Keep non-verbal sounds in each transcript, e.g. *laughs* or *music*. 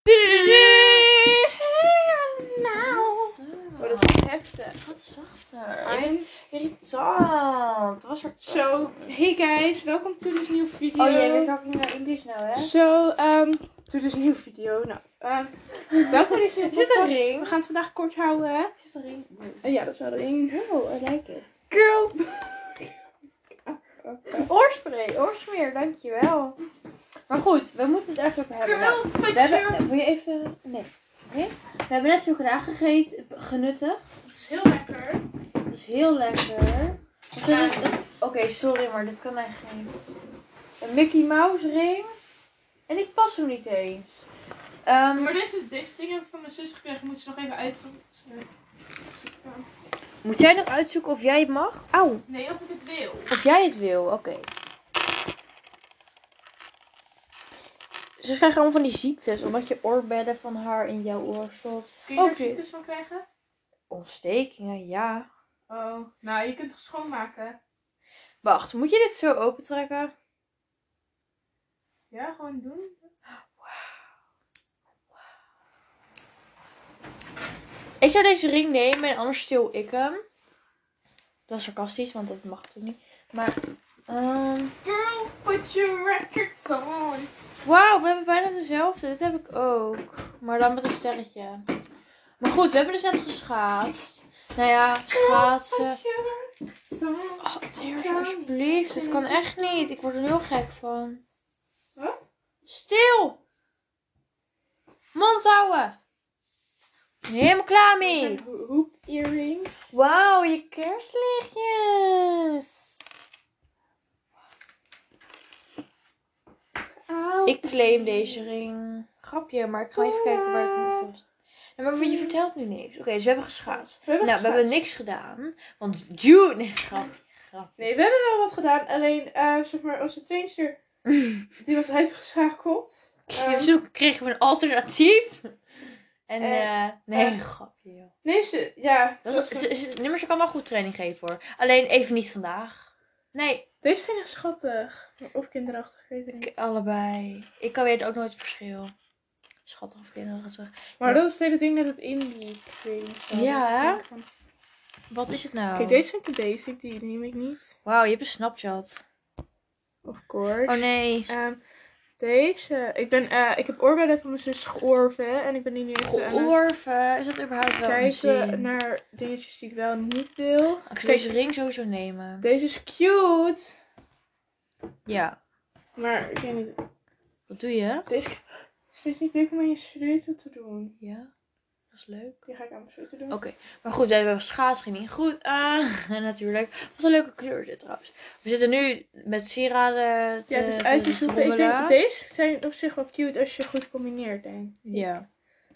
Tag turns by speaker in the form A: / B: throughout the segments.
A: Oh,
B: irritant.
A: I'm...
B: Irritant. Was er
A: So, hey guys, welkom to this new video.
B: Oh jee, we're talking about English now, hè?
A: So, um, to this new video. Nou, um, welkom bij
B: *laughs*
A: deze
B: Is dit een
A: podcast.
B: ring?
A: We gaan het vandaag kort houden, hè?
B: Is er een-
A: Eh, ja, dat is wel een ring.
B: Oh, I like it.
A: *laughs* Girl!
B: Oorspray, oorsmeer, dankjewel. Maar goed, we moeten het ergens over hebben. Nou, we hebben, wil je even... Nee. Oké. We hebben net chocola gegeten, genuttigd.
A: Dat is heel lekker.
B: Dat is heel lekker. We zullen het- eh, Oké, sorry, maar dit kan echt niet. Een Mickey Mouse ring. En ik pas hem niet eens. Ehm,
A: Maar deze, deze dingen heb ik van mijn zus gekregen. Moet ze nog even uitzoeken.
B: moet jij nog uitzoeken of jij het mag? Auw,
A: Nee, of ik het wil.
B: of jij het wil. Oké. Ze krijgen allemaal van die ziektes, omdat je oorbedden van haar in jouw oor stopt.
A: Kun je
B: Ook
A: er
B: dit.
A: ziektes van krijgen?
B: Ontstekingen, ja.
A: Oh, nou, je kunt het schoonmaken.
B: Wacht, moet je dit zo opentrekken?
A: Ja, gewoon doen.
B: Ik zou deze ring nemen en anders stil ik hem. Dat is sarcastisch, want dat mag natuurlijk niet. Maar, ehm
A: Girl, put your records on.
B: Wauw, we hebben bijna dezelfde. Dit heb ik ook. Maar dan met een sterretje. Maar goed, we hebben dus net geschaatst. Nou ja, schaatsen. Oh, Teers, alsjeblieft. Dit kan echt niet. Ik word er heel gek van.
A: Wat?
B: Stil! Mond houden! Helemaal klaar mee!
A: Hoop earrings.
B: Wauw, je kerstlichtjes! Ik claim deze ring. Grapje, maar ik ga even kijken waar ik nu was. Nee, maar je vertelt nu niks. Oké, dus we hebben geschaatst.
A: We hebben
B: nou, we
A: geschaatst.
B: hebben niks gedaan. Want June... Nee, grapje. grapje.
A: Nee, we hebben wel wat gedaan. Alleen, eh, zeg maar, onze trainster,
B: *laughs*
A: die was uitgeschakeld.
B: We
A: Ehm,
B: zoeken kregen we een alternatief. En,
A: Eh,
B: eh... nee,
A: eh.
B: grapje, joh.
A: nee, ze, ja.
B: Dat
A: dat
B: is,
A: was-
B: ze, ze- nummers kan allemaal goed training geven, hoor. Alleen even niet vandaag. Nee,
A: Deze zijn echt schattig. Of kinderachtig, ik weet het niet.
B: ik- allebei. Ik kan weet ook nooit het verschil. Schattig of kinderachtig.
A: Maar dat is het hele ding met het indie cream. zo.
B: Ja.
A: Dat vind ik van-
B: Wat is het nou?
A: Kijk, deze zijn te basic, die neem ik niet.
B: Wauw, je hebt een Snapchat.
A: Of course.
B: Oh nee.
A: Ehm, deze. Ik, ben, eh, ik heb oorbellen van mijn zus georven. En ik ben die nu even aan het-
B: Georven. Is dat überhaupt wel een
A: kijken
B: zin?
A: naar dingetjes die ik wel niet wil.
B: Ik zou
A: Kijk,
B: deze ring sowieso nemen.
A: deze is cute.
B: Ja.
A: Maar ik weet niet.
B: Wat doe je?
A: Deze het is niet leuk om aan je sleutel te doen.
B: Ja. Dat is leuk.
A: Die ga ik aan mijn sleutel doen.
B: Oké. Maar goed, we hebben schaats. Ging niet goed. Ah, *laughs* natuurlijk. Wat een leuke kleur dit trouwens. We zitten nu met sieraden te
A: ja, het is uit
B: eh,
A: te zoeken. Ik denk,
B: rommelen.
A: deze zijn op zich wel cute als je goed combineert, denk ik.
B: Ja.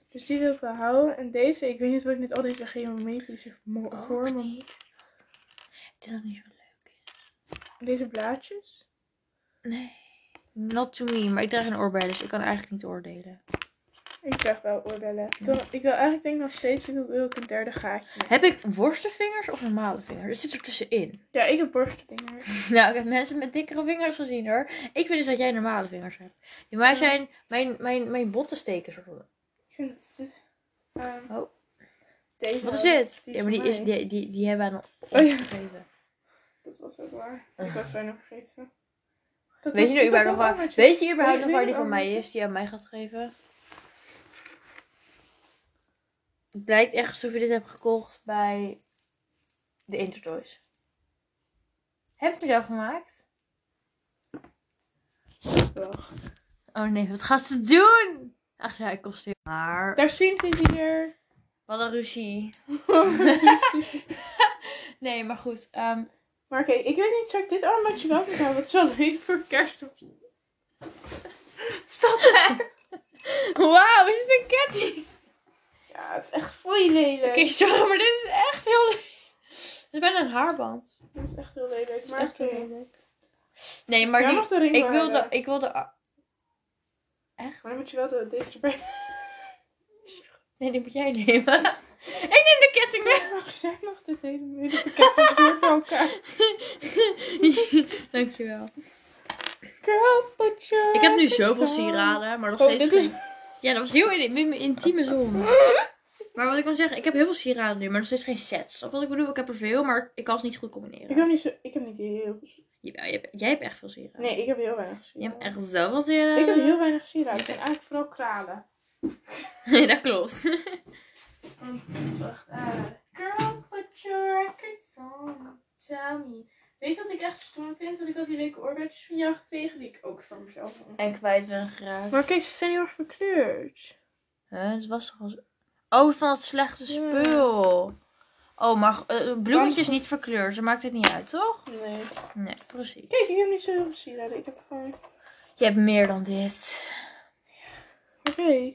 A: Dus die wil ik wel houden. En deze, ik weet niet wat ik met al deze geometrische mo-
B: Oh,
A: vormen...
B: niet. Ik denk dat niet zo leuk is.
A: Deze blaadjes.
B: Nee. Not to me. Maar ik draag een oorbel, dus ik kan eigenlijk niet oordelen.
A: Ik zeg wel oorbellen. Ik wil, ik wil eigenlijk denk ik nog steeds ik wil, wil ik een derde gaatje.
B: Heb ik worstenvingers of normale vingers? Er zit er tussenin. *laughs*
A: Ja, ik heb borstdingen.
B: Nou, ik heb mensen met dikkere vingers gezien hoor. Ik vind dus dat jij normale vingers hebt. Ja, maar zijn mijn, mijn, mijn botten steken zo.
A: Ik vind het... dit- ehm,
B: Oh.
A: Deze
B: Wat is
A: ook.
B: dit?
A: Die
B: Ja, maar die,
A: van
B: is,
A: mij.
B: die, die, die hebben we aan
A: Oh,
B: ons
A: ja.
B: gegeven.
A: Dat was ook waar. Ik was bijna vergeten. Dat
B: Weet je
A: dat-
B: nu überhaupt nog
A: dat
B: waar,
A: was
B: weet je überhaupt
A: Weet-
B: nog waar
A: weet
B: die
A: je
B: van mij
A: allemaal?
B: is, die aan mij gaat geven? Het lijkt echt alsof je dit hebt gekocht bij de Intertoys. Heb je het zelf gemaakt?
A: wel.
B: Oh nee, wat gaat ze doen? Ach, zij kost heel maar.
A: Daar zien ze die weer.
B: Wat een ruzie. *laughs* nee, maar goed. ehm,
A: Maar oké, ik weet niet, zou ik dit armbandje wel moeten houden? Het is wel leuk voor kerst. of-
B: Stop hè! Wauw, is dit een ketting?
A: Ja, het is echt foei lelijk.
B: Oké, sorry, maar dit is echt heel lelijk. Het is bijna een haarband.
A: Dat is echt heel lelijk.
B: Het is
A: Maar
B: echt
A: oké.
B: heel lelijk. Nee, maar
A: Jij
B: die,
A: mag de ring
B: ik wil de...
A: behouden.
B: Ik wil de...
A: Maar dan moet je wel de, deze erbij. *laughs*
B: Nee, die moet jij nemen. *laughs* ik neem de ketting weg.
A: Mag jij nog dit hele moeilijke *laughs* pakket door bij elkaar?
B: Dankjewel.
A: Girl, put your
B: Ik heb nu
A: records
B: zoveel
A: on.
B: sieraden, maar nog
A: Oh,
B: steeds...
A: dit is-
B: *laughs* geen- Ja, dat was heel in, in- intieme zon. Maar wat ik kan zeggen, ik heb heel veel sieraden nu, maar nog steeds geen sets. Dat wat ik bedoel, ik heb er veel, maar ik kan ze niet goed combineren.
A: Ik heb niet, zo, ik heb niet heel veel.
B: Jawel, jij, hebt, jij hebt echt veel sieraden.
A: Nee, ik heb heel weinig
B: Je
A: sieraden.
B: hebt echt eh, zo wat sieraden.
A: Ik heb heel weinig sieraden.
B: Ik
A: Ik ben eigenlijk vooral kralen.
B: *laughs* Nee, dat klopt.
A: Wacht, eh, Girl, put your records on. Sammy. Weet je wat ik echt stom vind? Dat ik had die leuke oorbeertjes van jou gekregen die ik ook voor mezelf had.
B: En kwijt ben geraakt.
A: Maar kijk, ze zijn heel erg verkleurd.
B: Hè, het was toch al zo- Oh, van dat slechte
A: Ja.
B: spul. Oh, maar eh, bloemetjes
A: Kan-
B: niet verkleurd. Ze maakt het niet uit, toch?
A: Nee.
B: Nee, precies.
A: Kijk, ik heb niet zo heel veel sieraden. Ik heb gewoon...
B: Je hebt meer dan dit.
A: Oké.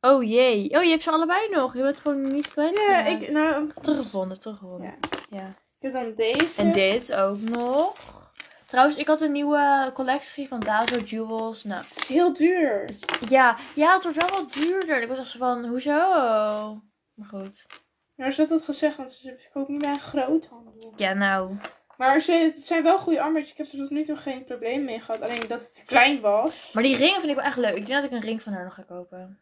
B: Oh jee. Oh, je hebt ze allebei nog. Je bent gewoon niet kwijt.
A: Ja, ik... Nou,
B: Teruggevonden, teruggevonden. Ja.
A: ik heb dan deze.
B: En dit ook nog. Trouwens, ik had een nieuwe collectie van Dazo Jewels. Nou,
A: Het is heel duur.
B: ja. Ja, het wordt wel wat duurder. En Ik was echt zo van, hoezo? Maar goed.
A: Maar Nou, ze had dat gezegd, want ze ze koopt niet bij een groothandel.
B: Ja, nou.
A: Maar ze, het zijn wel goede armbandjes. Ik heb er tot nu toe geen probleem mee gehad. Alleen dat het te klein was.
B: Maar die ringen vind ik wel echt leuk. Ik denk dat ik een ring van haar nog ga kopen.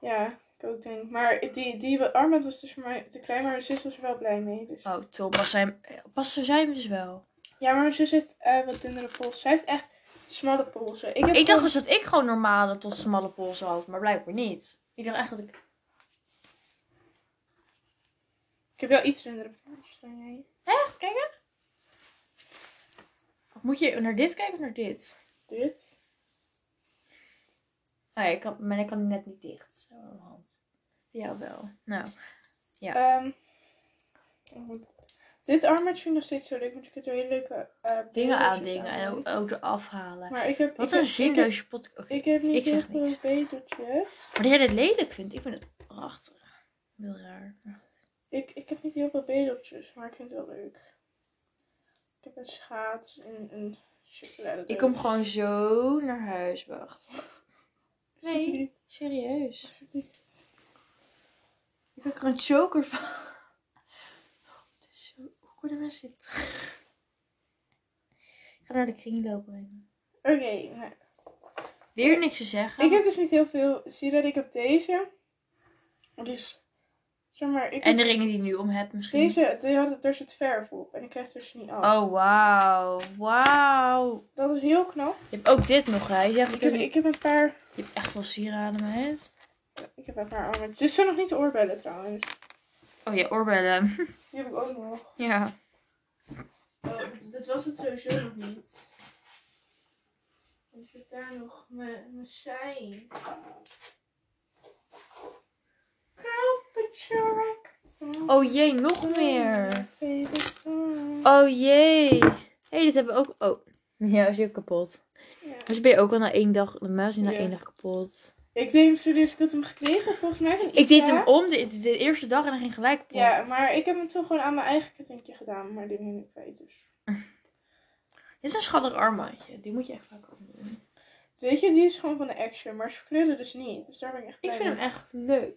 A: Ja, ik ook denk. Maar die, die armband was dus voor mij te klein, maar mijn zus was er wel blij mee. Dus.
B: Oh, top. Pas zijn, pas zo zijn we dus wel.
A: Ja, maar mijn zus heeft eh, wat dunnere polsen. Zij heeft echt smalle polsen. Ik, heb
B: Ik dacht
A: gewoon-
B: dus dat ik gewoon normale tot smalle polsen had, maar blijkbaar niet. Ik dacht echt dat ik...
A: ik heb wel iets dunnere polsen dan jij.
B: Echt? Kijk eens. Moet je naar dit kijken of naar dit?
A: Dit.
B: Oh ja, ik kan, maar ik kan die net niet dicht. Zo aan de hand. Ja, wel. Nou.
A: Ehm, ik moet- dit armbandje vind ik nog steeds zo leuk, want ik heb er hele leuke eh,
B: Dingen
A: kleurtjes
B: aandingen en
A: aan.
B: ook, ook eraf halen.
A: Maar ik heb, ik
B: Wat
A: heb-
B: een
A: ik heb-
B: zinloze podcast. Oké.
A: Ik heb
B: Ik
A: niet heel
B: zeg
A: veel betertjes.
B: Maar dat jij dit lelijk vindt, ik vind het prachtig. Heel raar. maar goed.
A: Ik, ik heb niet heel veel bedeltjes, maar ik vind het wel leuk. Ik heb een schaats en een chocolade.
B: Ik kom gewoon zo naar huis, wacht. Nee,
A: Nee.
B: serieus. Ik heb er een choker van. *laughs* Het is zo- Hoe kunnen mensen dit? Ik ga naar de kring lopen.
A: Oké, nou,
B: Weer niks te zeggen.
A: ik heb dus niet heel veel sieraden. Ik heb deze. Dus, zeg maar, ik
B: En de
A: heb
B: ringen die je nu om hebt misschien.
A: deze, die had, daar zit verf op en ik krijg het dus niet af.
B: Oh, wauw. Wauw.
A: Dat is heel knap.
B: Je hebt ook dit nog, hè? Je, zegt,
A: Ik heb, ik heb een paar,
B: je hebt echt wel sieraden, meid.
A: ik heb een paar armen. Dit zijn nog niet de oorbellen trouwens.
B: Oh ja,
A: *laughs*
B: oorbellen.
A: Die heb ik ook nog.
B: ja.
A: dat was het sowieso nog niet. Ik zit daar nog mijn zijn.
B: Oh jee, nog meer. Oh jee. Hé, hey, dit hebben we ook. Oh. *laughs* Ja, is ook kapot. Dus ben je ook al na één dag. Normaal is hij na
A: Ja.
B: één dag kapot.
A: Ik deed hem serieus, ik had hem gekregen volgens mij. van
B: Ik deed
A: Isa.
B: hem om de, de, eerste dag en hij ging gelijk kapot.
A: Ja, maar ik heb hem toen gewoon aan mijn eigen kettingje gedaan, maar die ben ik kwijt dus.
B: Dit is een schattig armbandje. Die moet je echt vaak omdoen.
A: Weet je, die is gewoon van de action, maar ze verkleurde dus niet. Dus daar ben ik echt blij mee.
B: echt leuk.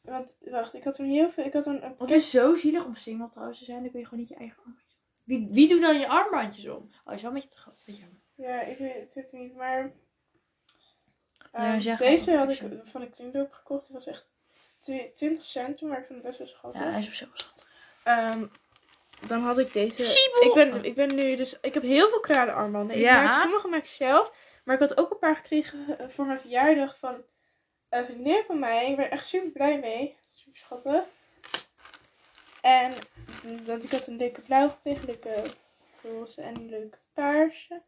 A: Want, wacht, ik had toen heel veel, ik had toen een
B: Want het is zo zielig om single trouwens te zijn. Dan kun je gewoon niet je eigen armbandjes om. Wie, wie doet dan je armbandjes om? Oh, is wel een beetje te groot. Beetje jammer.
A: Ja, ik weet het ook niet, maar.
B: Ja,
A: eh,
B: zeg
A: deze
B: maar.
A: had
B: Ik
A: ik van de kringloop gekocht. Die was echt twi- 20 cent, maar ik vind het best wel schattig.
B: Ja, hij is op zich wel schattig.
A: Ehm, dan had ik deze.
B: Siebel!
A: Ik ben, ik ben nu dus. Ik heb heel veel kralenarmbanden. Ik
B: Ja.
A: maak, sommige maak ik zelf. Maar ik had ook een paar gekregen eh, voor mijn verjaardag van een vriendin van mij. Ik ben echt super blij mee. Super schattig. En want ik had een leuke blauw gekregen, een leuke roze en een leuke paarse.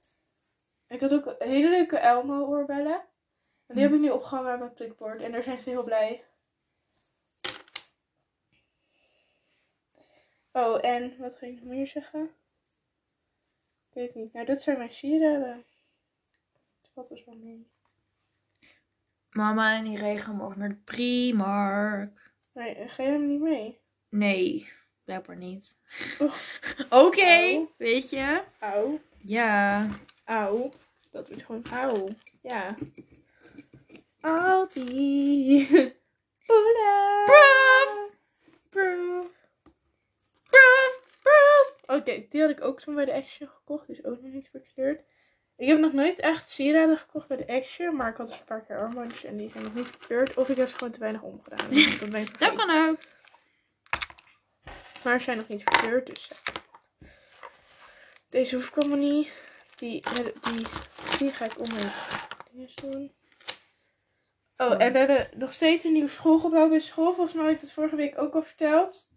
A: Ik had ook een hele leuke Elmo oorbellen. En die
B: Hmm.
A: heb ik nu opgehangen aan mijn prikbord. En daar zijn ze heel blij. Oh, en wat ging ik nog meer zeggen? Ik weet niet. Nou, dat zijn mijn sieraden. Het valt dus wel mee.
B: Mama en die regen morgen naar de Primark.
A: Nee, eh, ga jij hem niet mee?
B: Nee, blijkbaar niet.
A: Oeh.
B: *laughs* Oké,
A: Oh.
B: weet je.
A: Auw.
B: Ja.
A: Auw. Dat is gewoon auw. Ja. Aldi. Poela.
B: Proof!
A: Proof.
B: Proof! Proof!
A: dus Oké, die had ik ook toen bij de Action gekocht. Die is ook nog niet verkleurd. Ik heb nog nooit echt sieraden gekocht bij de Action, maar ik had dus een paar keer armbandjes en die zijn nog niet verkeerd. Of ik heb ze gewoon te weinig *laughs* omgedaan. Dus dat ben ik
B: Dat
A: vergeten.
B: kan ook.
A: Maar ze zijn nog niet verkeerd, dus... eh. Deze hoef ik allemaal niet. Die, eh, die, die ga ik om mijn dinges doen. Oh, en we hebben nog steeds een nieuw schoolgebouw bij school. Volgens mij had ik dat vorige week ook al verteld.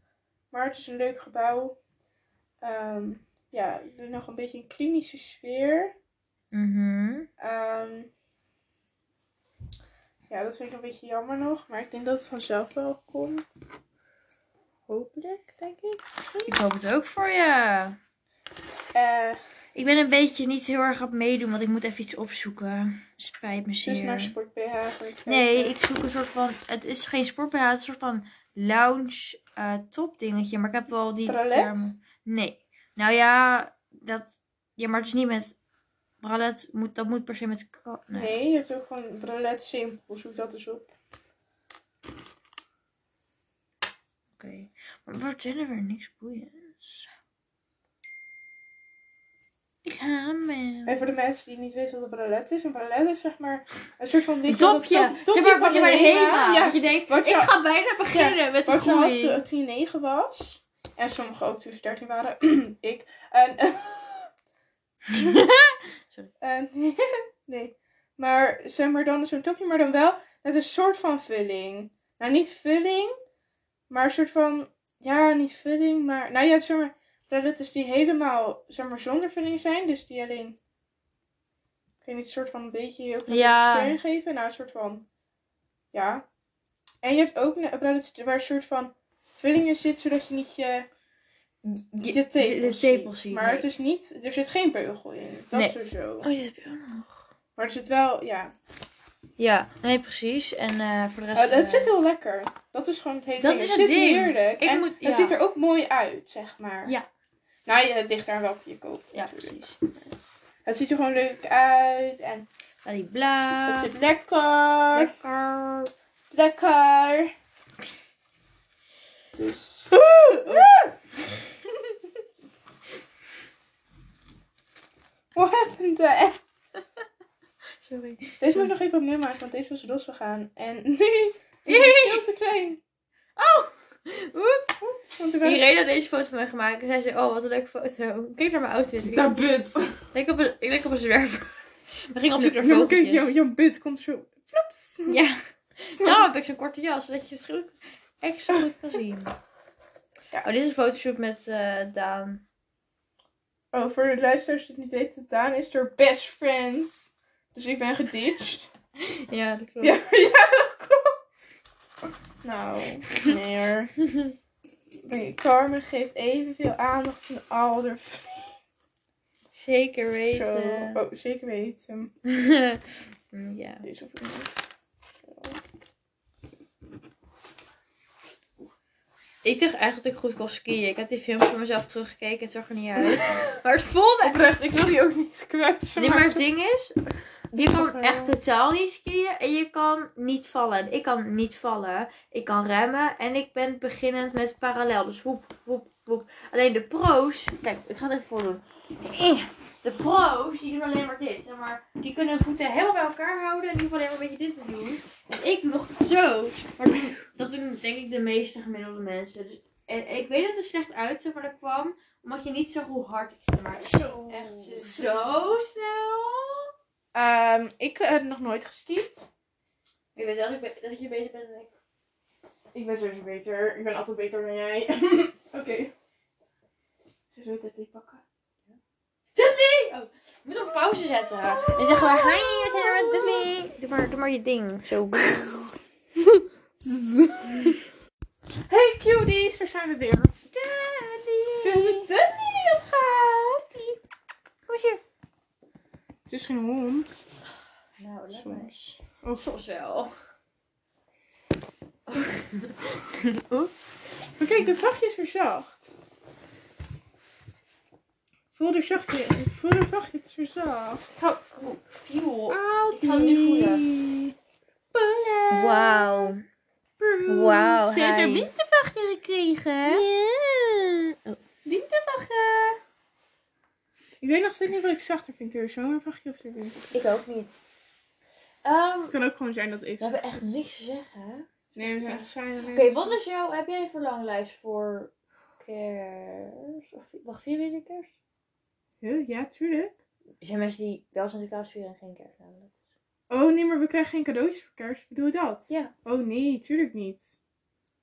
A: Maar het is een leuk gebouw. Ehm, ja, het is nog een beetje een klinische sfeer.
B: Mhm.
A: Ehm, ja, dat vind ik een beetje jammer nog. Maar ik denk dat het vanzelf wel komt. Hopelijk, denk ik.
B: Ik hoop het ook voor je.
A: Eh,
B: Ik ben een beetje niet heel erg aan het meedoen, want ik moet even iets opzoeken. Spijt me zeer.
A: dus naar Sport BH. gaan we
B: Nee,
A: kijken.
B: ik zoek een soort van. Het is geen sport BH, het is een soort van lounge eh, top dingetje. Maar ik heb wel die
A: Bralette?
B: termen. Nee. Nou ja, dat. Ja, maar het is niet met. Bralet moet, dat moet per se met. ka- Nee.
A: Nee, je hebt ook gewoon bralette simpel. Zoek dat eens op.
B: Oké. Maar wat zijn er weer niks boeiends? Ik haat me.
A: En voor de mensen die niet weten wat een bralette is. Een bralette is zeg maar een soort van...
B: Een
A: weet je wel, dat
B: topje.
A: top-
B: zeg maar
A: van
B: wat je bij de HEMA.
A: Ja,
B: Dat je denkt,
A: Wat
B: ik
A: je-
B: ga bijna beginnen met een
A: Wat je had
B: groei.
A: toen- toen je 9 was. En sommigen ook toen ze 13 waren. *clears throat* ik. En.
B: *laughs* Sorry.
A: *laughs* En- nee. Maar zeg maar dan zo'n topje, maar dan wel met een soort van vulling. Nou, niet vulling, maar een soort van. Ja, niet vulling, maar. Nou ja, zeg maar. Bralettes die helemaal zeg maar, zonder vulling zijn, dus die alleen. Ik weet niet, een soort van een beetje heel klein
B: Ja.
A: beetje steun geven. Nou, een soort van. Ja. En je hebt ook ne- bralettes waar een soort van vulling in zit, zodat je niet je, je,
B: de, de,
A: tepels
B: tepels zien.
A: Maar
B: nee.
A: het is niet, er zit geen beugel in. Dat
B: Nee.
A: sowieso.
B: Oh, dit heb je ook nog.
A: Maar er zit wel, ja.
B: Ja, nee, precies. En eh, voor de rest.
A: Het dat
B: eh,
A: zit heel lekker. Dat is gewoon het hele
B: Dat
A: ding.
B: is
A: het
B: het
A: zit
B: ding.
A: heerlijk.
B: Ik
A: en
B: moet- ja.
A: Het ziet er ook mooi uit, zeg maar.
B: Ja.
A: Nou, ja, het ligt aan welke je koopt.
B: Ja,
A: natuurlijk.
B: precies.
A: Het ziet er gewoon leuk uit. En
B: Alibla.
A: het zit lekker.
B: lekker.
A: Lekker. Dus. *laughs* What happened there?
B: Sorry.
A: Deze moet ik nog even opnieuw maken, want deze was losgegaan. En nu is het veel te klein. Want ik ben...
B: Oh! Iedereen had deze foto van mij gemaakt. En zij zei, oh, wat een leuke foto. Kijk naar mijn outfit. Ik
C: Dat but.
B: leek op een, ik leek op een zwerver. *laughs* We gingen op zoek naar
A: Ja, maar Kijk,
B: vogeltjes.
A: jouw, jouw bit komt zo. Flops.
B: Ja. Daarom heb ik zo'n korte jas, zodat je het goed, extra goed kan zien.
A: Ja.
B: Oh, dit is een fotoshoot met eh, Daan.
A: Oh, voor de luisteraars die het niet weten, Daan is haar best friend. Dus ik ben geditcht.
B: Ja, dat klopt.
A: ja, ja, dat klopt. *laughs* Nou, nee hoor. Nee, Carmen geeft evenveel aandacht aan al haar
B: Zeker
A: Zo.
B: weten. Mm,
A: Oh, zeker weten.
B: *laughs* ja.
A: Deze of niet.
B: Ik dacht eigenlijk dat ik goed kon skiën. Ik heb die films van mezelf teruggekeken. Het zag er niet uit. Maar het voelde
A: Oprecht, ik wil die ook niet kwetsen.
B: Nee, maar het ding is, je
A: snap
B: kan
A: wel.
B: echt totaal niet skiën en je kan niet vallen. Ik kan niet vallen, ik kan remmen en ik ben beginnend met parallel. Dus hoep, hoep, hoep. Alleen de pro's, kijk, ik ga het even voordoen. Eh, De pro's, die doen alleen maar dit. Zeg maar, die kunnen hun voeten helemaal bij elkaar houden en die hoeven alleen maar een beetje dit te doen. En ik doe nog zo. Maar dat doen denk ik de meeste gemiddelde mensen. Dus, en, ik weet dat het er slecht uitzag, maar dat kwam omdat je niet zag hoe hard ik ging. Maar
A: Zo.
B: Echt zo snel.
A: Ehm, ik eh, heb nog nooit geskiet.
B: Ik weet wel dat ik be- dat je bezig bent met
A: Ik ben sowieso beter. Ik ben altijd beter dan jij. *laughs* Oké. Zullen we dit niet pakken?
B: Ik moet op pauze zetten. En zeggen we, hi, we zijn er met Dudley. Doe maar, doe maar je ding. Zo.
A: Hey cuties, daar zijn we weer. We
B: Dudley.
A: hebben Dudley opgehaald.
B: Kom eens hier.
A: Het is geen hond.
B: Nou, lekker.
A: Soms. Oh,
B: Soms wel.
A: oeps. Maar kijk, de vachtje is weer zacht. Voel de zachtje. Ik voel de vachtje, het is weer zacht.
B: Ik hou... Oh, viel.
A: Ik
B: ga het nu voelen.
A: Voelen.
B: Wauw.
A: Voelen.
B: Wauw,
A: Ze heeft
B: hi.
A: haar wintervachtje gekregen.
B: Ja.
A: Wintervachtje. Ik weet nog steeds niet wat ik zachter vind door zo'n vrachtje of door winter.
C: Ik ook niet. Ehm,
A: Het kan ook gewoon zijn dat ik...
C: we hebben echt niks te zeggen. hè?
A: Nee, we zijn echt saai.
C: Oké, wat is jouw... Heb jij een verlanglijst voor kerst? Of, wacht, vieren jullie kerst?
A: Huh? Ja, tuurlijk.
C: Er zijn mensen die wel Sinterklaas vieren en geen kerst namelijk.
A: Oh nee, maar we krijgen geen cadeautjes voor kerst. Bedoel je dat?
C: Ja.
A: Oh nee, tuurlijk niet.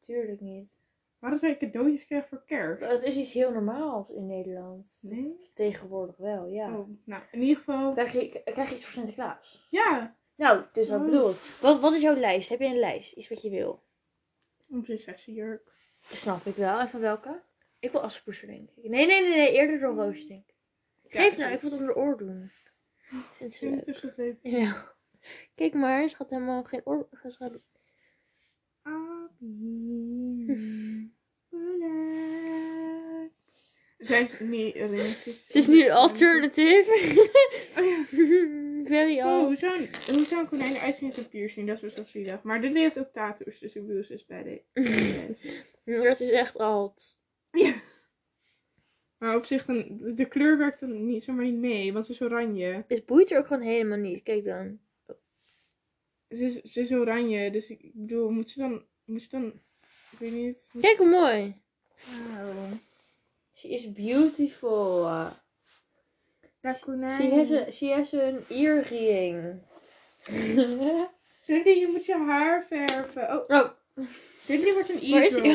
C: Tuurlijk niet.
A: Waarom zou je cadeautjes krijgen voor kerst?
C: Dat is iets heel normaals in Nederland.
A: Nee.
C: Tegenwoordig wel, ja.
A: Oh, nou, in ieder geval...
C: Krijg, je, krijg je iets voor Sinterklaas?
A: Ja,
C: Nou, dus dat
A: Oh.
C: bedoel ik. Wat, wat is jouw lijst? Heb je een lijst? Iets wat je wil?
A: een prinsessenjurk.
C: Snap ik wel. En van welke? Ik wil asperger, denk ik. Nee, nee, nee, nee. Eerder dan roosje, denk ik.
A: Ja,
C: Geef nou,
A: goed.
C: ik wil het onder de oor doen.
A: Ik
C: Vindt ze
A: vind het
C: leuk.
A: tussen het leven.
C: Ja. Kijk maar, ze gaat helemaal geen oor... Ze gaat...
A: Ah, Abi.
C: Hm.
A: Bullet. Zijn ze niet ringetjes?
C: Ze is nu alternatief. *laughs* Very
A: Oh,
C: old.
A: hoe zou een, hoe zou een konijn eruit zien met een piercing? Dat is best wel zielig. Maar dit heeft ook tattoos, dus ik bedoel, ze is bij
C: *laughs*
A: de...
C: Dat is echt alt.
A: Maar op zich, dan, de- de kleur werkt dan niet, zomaar niet mee, want ze is oranje.
C: Het boeit er ook gewoon helemaal niet. Kijk dan.
A: Ze is, ze is oranje, dus ik bedoel, moet ze dan... Moet ze dan ik weet niet. Moet,
C: Kijk hoe mooi.
A: Wauw.
C: She is beautiful.
A: Dat konijn.
C: She has, a, she has an earring. *laughs*
A: Cindy, je moet je haar verven. Oh,
C: oh,
A: Cindy wordt een
C: waar is
A: e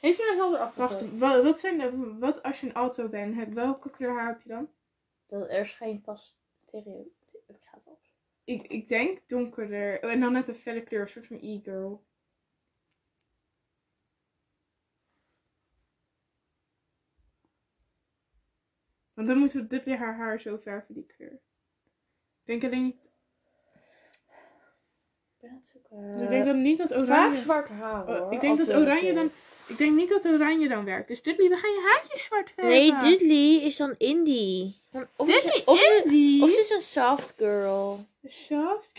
C: Heeft ze nou zonder
A: Wacht, wa- wat, zijn de, wat als je een alto bent? Heb- Welke kleur haar heb je dan?
C: Dat er is geen vast stereotype. Ik ga het op.
A: Ik, ik denk donkerder. Oh, en dan net een felle kleur, een soort van e-girl. Want dan moeten we dit weer haar haar zo verven, die kleur. Ik denk alleen niet,
C: Dus Ik ben aan het zoeken.
A: ik
B: Eh,
A: denk dan niet dat
C: Vaak
A: oranje...
C: zwart haar hoor.
A: Oh, ik denk dat oranje dan... Ik denk niet dat oranje dan werkt. Dus Dudley, we gaan je haartjes zwart verven.
C: Nee, Dudley is dan indie. Dan- Of
A: Dudley
C: is, of, ze-
A: Indy.
C: of ze is een soft girl.
A: Soft.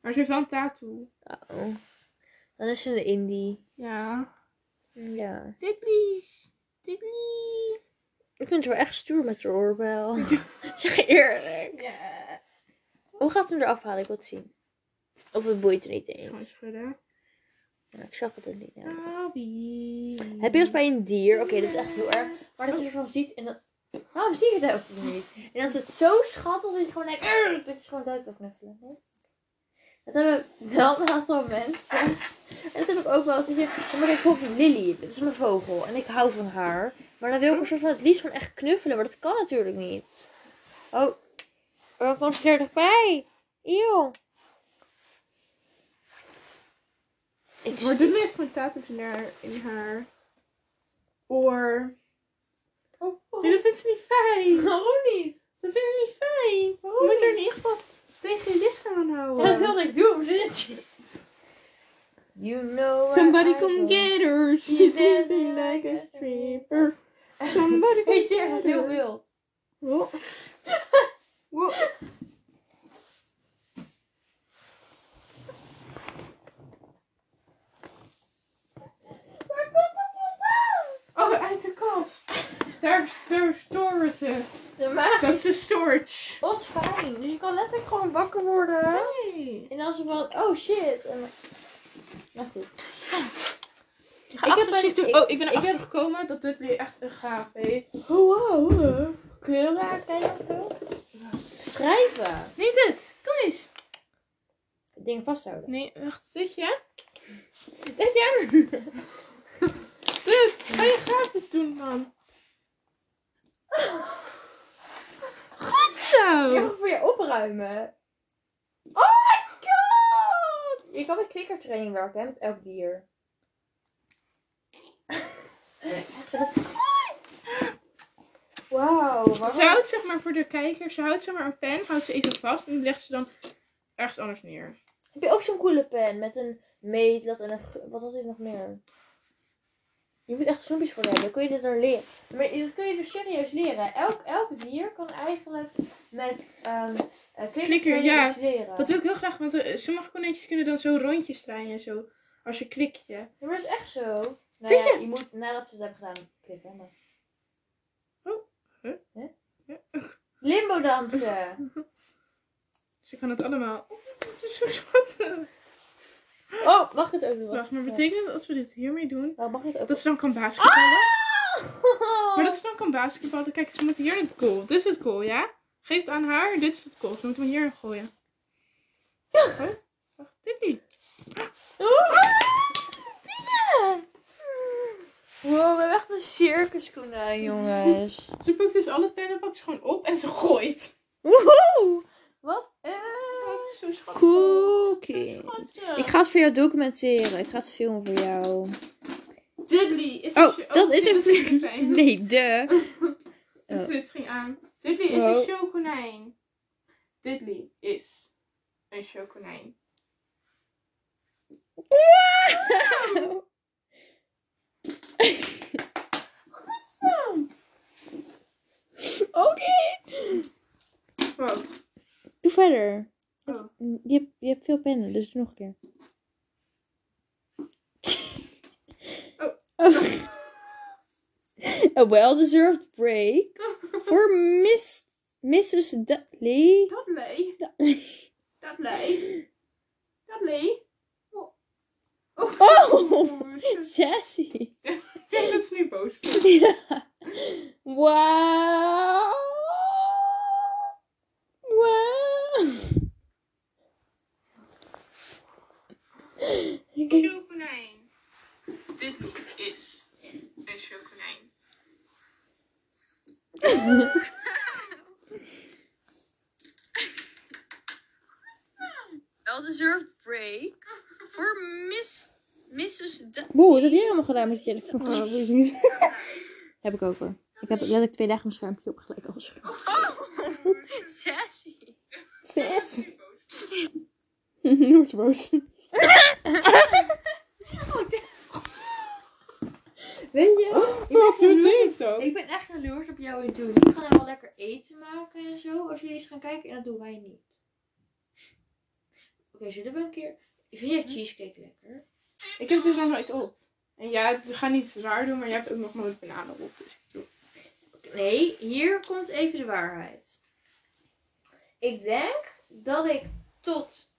A: Maar ze heeft wel een tattoo.
C: Oh. Dan is ze een indie.
A: Ja.
C: Ja.
A: Dibli. Dibli.
C: Ik vind het wel echt stoer met haar oorbel. *laughs* zeg je eerlijk.
A: Ja.
C: Hoe gaat hem eraf halen? Ik wil het zien. Of het boeit er niet in.
A: Gewoon schudden.
C: Ja, ik zag het er niet. Ja.
A: Abi.
C: Heb je als bij een dier? Oké, dit is echt heel erg. Maar dat je ervan ziet en dan. Waarom zie je het ook niet? En als het zo schattig is, dat je gewoon denkt. "Arr", Dat je gewoon duit opknuffelen. Hè? Dat hebben wel een aantal mensen. En dat heb ik ook wel eens. dat je- Ja, Maar ik hoop Lily, dit is mijn vogel. En ik hou van haar. Maar dan wil ik een soort van het liefst gewoon echt knuffelen. Maar dat kan natuurlijk niet. Oh, er komt er dichtbij. Eeuw. Ik
A: Maar Dibli heeft gewoon tattoos in haar, in haar oor.
C: Oh, oh.
A: Nee, dat vindt ze niet fijn.
C: Waarom niet?
A: Dat vindt ze niet fijn.
C: Waarom?
A: Je moet er in ieder geval tegen je lichaam aan houden.
C: Ja, dat wilde ik doen, maar ze did it. You know
A: Somebody
C: I
A: come
C: will.
A: get her. She's dancing like a stripper. Somebody come
C: Weet je,
A: get
C: het
A: her.
C: is heel wild.
A: Wow. Wow.
C: Waar komt dat vandaan?
A: Oh, uit de kast. Daar, daar storen ze.
C: De maag
A: Dat
C: is
A: is de storage.
C: ons fijn. Dus je kan letterlijk gewoon wakker worden.
A: Hey.
C: En dan ze van, oh shit. En... Nou goed.
A: Ik, heb precies
C: een-
A: toen,
C: ik-
A: oh, ik ben
C: ik
A: erachter
C: heb-
A: gekomen dat dit weer echt een gaaf is.
C: Wow, wow. Kun je daar kijken of zo? Schrijven.
A: Nee, dit. Kom eens.
C: Het ding vasthouden. *laughs*
A: Nee, wacht. Dit, ja?
C: Dat is jij.
A: Dit. Ga je grafisch doen, man. Goed zo.
C: Ik ga voor je opruimen. Oh my god! Je kan met klikkertraining werken, hè, met elk *laughs* dier. Wauw,
A: Ze
C: waarom?
A: houdt zeg maar voor de kijker, ze houdt zeg maar een pen, houdt ze even vast en die legt ze dan ergens anders neer.
C: Heb je ook zo'n coole pen met een meetlat en een... gr- Wat had dit nog meer? Je moet echt snoepjes voor hebben, dan kun je dit er leren. Maar dat kun je dus serieus leren. Elk, elk dier kan eigenlijk met ehm eh, klikkertraining
A: ja.
C: iets leren.
A: Dat wil ik heel graag, want eh, sommige konijntjes kunnen dan zo rondjes draaien en zo. Als je klikt je.
C: Ja, maar dat is echt zo. Nou
A: Vind
C: ja,
A: je?
C: je moet nadat ze het hebben gedaan klikken. Maar...
A: Oh, huh?
C: Hè? Limbo dansen.
A: Ze kan het allemaal. Oh, Het is zo schattig.
C: *laughs* Oh, mag ik het ook doen?
A: Wacht, maar betekent dat als we dit hiermee doen,
C: Nou, mag ik het ook
A: dat ze dan kan basketballen?
C: doen?
A: Maar dat ze dan kan basketballen. Kijk, ze moet hier het goal. Dit is het goal, ja? Geef het aan haar, dit is het goal. Ze moeten hem hierin gooien. Oh, wacht, dit niet.
C: Wow, we hebben echt een eh, circuskoen aan, jongens.
A: Ze pakt dus alle pennenpakjes gewoon op en ze gooit.
C: Woehoe! Wat
A: Oh,
C: een
A: het is zo schattig.
C: cookie.
A: Schattig.
C: Ik ga het voor jou documenteren. Ik ga het filmen voor jou.
A: Diddley is
C: Oh,
A: een cho-
C: dat is
A: dit
C: een
A: geen fijn.
C: Nee, de.
A: De
C: Oh.
A: flits ging aan. Diddley is
C: Oh.
A: een showkonijn. Diddley is een showkonijn. Goed zo!
C: Oké.
A: Wow.
C: Doe verder.
A: Oh.
C: Je hebt, je hebt veel pennen, dus doe nog een keer.
A: Oh.
C: Oh. *laughs* A well-deserved
A: *laughs*
C: break voor Miss, Mrs. Dudley.
A: Dudley.
C: Dudley.
A: Dudley. Dudley. Oh.
C: Oh,
A: shit.
C: *laughs* sassy. *laughs*
A: Ik denk dat ze nu boos wordt.
C: Ja. Wauw. Wauw. Ik-
A: Showkonijn. Diddley is een showkonijn.
C: Well-deserved break voor *laughs* Miss, Mrs. Wow, wat heb jij allemaal gedaan met je telefoon?
A: Oh,
C: *laughs* heb ik ook hoor. Ik heb letterlijk twee dagen mijn schermpje opgelijk al scherm.
A: Oh,
C: Sassy.
A: ze
C: Sassy.
A: nu boos.
C: Noord boos. Weet je? Ik ben,
A: Wat doet hij dan?
C: ik ben echt jaloers op jou en Julie. We gaan allemaal lekker eten maken en zo. Als jullie eens gaan kijken, en dat doen wij niet. Oké, zullen we een keer... Vind jij cheesecake lekker?
A: Ik heb dus nog nooit op. En ja, we gaan niet raar doen, maar jij hebt ook nog nooit bananen op. Dus ik bedoel,
C: Nee, hier komt even de waarheid. Ik denk dat ik tot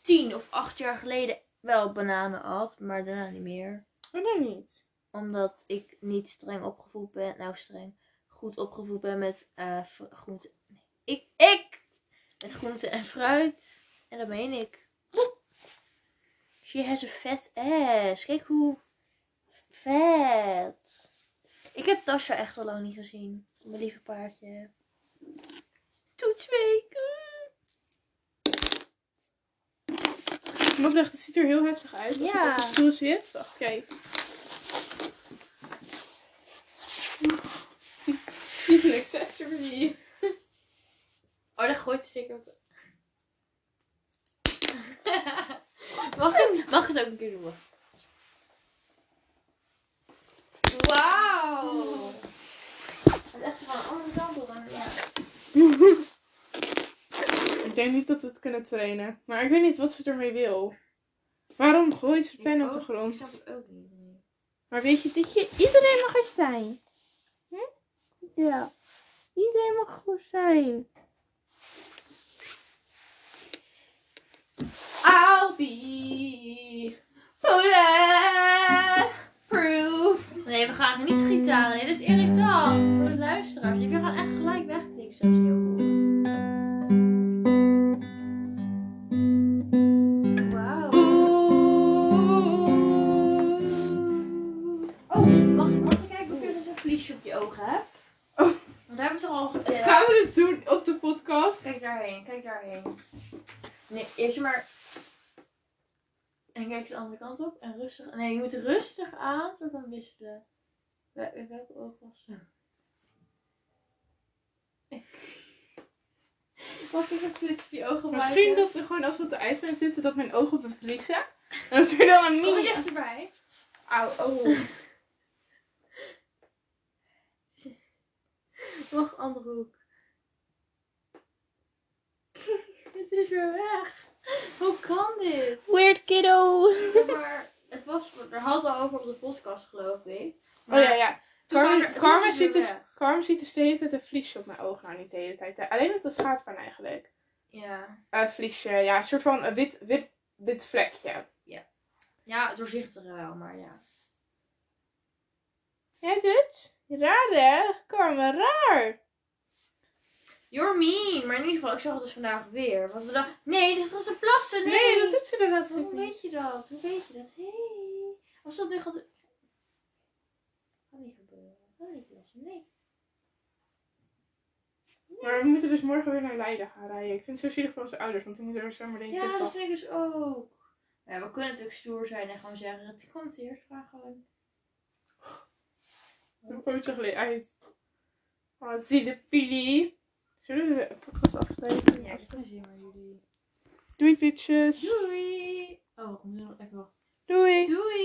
C: tien of acht jaar geleden wel bananen at, maar daarna niet meer.
A: waarom Oh, niet?
C: Omdat ik niet streng opgevoed ben. Nou, streng. Goed opgevoed ben met eh vr- groente. nee, Ik, ik! Met groente en fruit. En dat meen ik. She has a fat ass. Kijk hoe vet. Ik heb Tasha echt al lang niet gezien. Mijn lieve paardje. Toets *laughs* weken.
A: Ik moet zeggen, het ziet er heel heftig uit. Als
C: Ja.
A: ja. op de stoel zit. Wacht, kijk. Dit is een accessory.
C: Oh, dat gooit de sticker op de- *laughs* mag, ik, mag ik het ook een keer doen? Wauw!
A: Oh.
C: Het Oh. is echt van een andere kant op. dan- Ja.
A: Ik denk niet dat we het kunnen trainen. Maar ik weet niet wat ze ermee wil. Waarom gooit ze pen op de
C: Ik ook- Ik snap
A: grond?
C: het ook niet. nee.
A: Maar weet je, dat je iedereen mag er zijn. Hm? Ja. Iedereen mag er zijn.
C: I'll be proof. Nee, we gaan niet gitaren. Dit is irritant voor de luisteraars. Ik gaan echt gelijk wegknikken zoals je hoort. Wauw. Oh, mag, mag ik kijken of je dus een vliesje op je ogen hebt?
A: Oh.
C: Want daar hebben we het toch al gezegd.
A: Gaan we dit doen op de podcast?
C: Kijk daarheen, kijk daarheen. Nee, eerst maar. En kijk de andere kant op. En rustig. Nee, je moet rustig aan. Soort van wisselen. Wel- in welke oog was ze? *laughs* Mag ik een flits op je ogen
A: Misschien
C: maken?
A: dat we gewoon als we op de ijsbaan zitten, dat mijn ogen bevriezen. En dat we dan een
C: Kom eens
A: mini...
C: dichterbij.
A: Au, oh.
C: Nog andere hoek. *laughs* Het is weer weg. Hoe kan dit?
A: Weird kiddo.
C: Ja, maar het was, er had al over op de podcast geloof ik.
A: Oh ja, ja.
C: Toen
A: Karma,
C: waren- toen
A: Karma
C: was het
A: ziet
C: weer
A: dus,
C: weg.
A: kwam, ziet dus de hele tijd een vliesje op mijn ogen. Nou, niet de hele tijd. hè. Alleen op de schaatsbaan eigenlijk.
C: Ja.
A: Een vliesje, ja. Een soort van een wit, wit, wit vlekje.
C: Ja, doorzichtig wel, maar ja.
A: Ja, dit? Raar, hè? Kom, raar.
C: You're mean. Maar in ieder geval, ik zag het dus vandaag weer. Want we dachten, nee, dit was de plassen. Nee, Oh,
A: Nee, dat doet ze inderdaad
C: Hoe
A: niet.
C: weet je dat? Hoe weet je dat? Hé. Hey. Als dat nu gaat... Kan niet gebeuren. Kan niet plassen. Nee.
A: Maar we moeten dus morgen weer naar Leiden gaan rijden. Ik vind het zo zielig voor onze ouders, want die moeten er zomaar denk ik
C: Ja, dat
A: tussen.
C: vind ik dus ook. Ja, we kunnen natuurlijk stoer zijn en gewoon zeggen, het komt hier, vraag gewoon.
A: Dan komt het gelijk uit. Oh, zie de pili. Zullen we de podcast afsluiten?
C: Ja, ik plezier maar jullie.
A: Doei, bitches.
C: Doei! Oh, we moeten nog even wachten.
A: Doei.
C: Doei!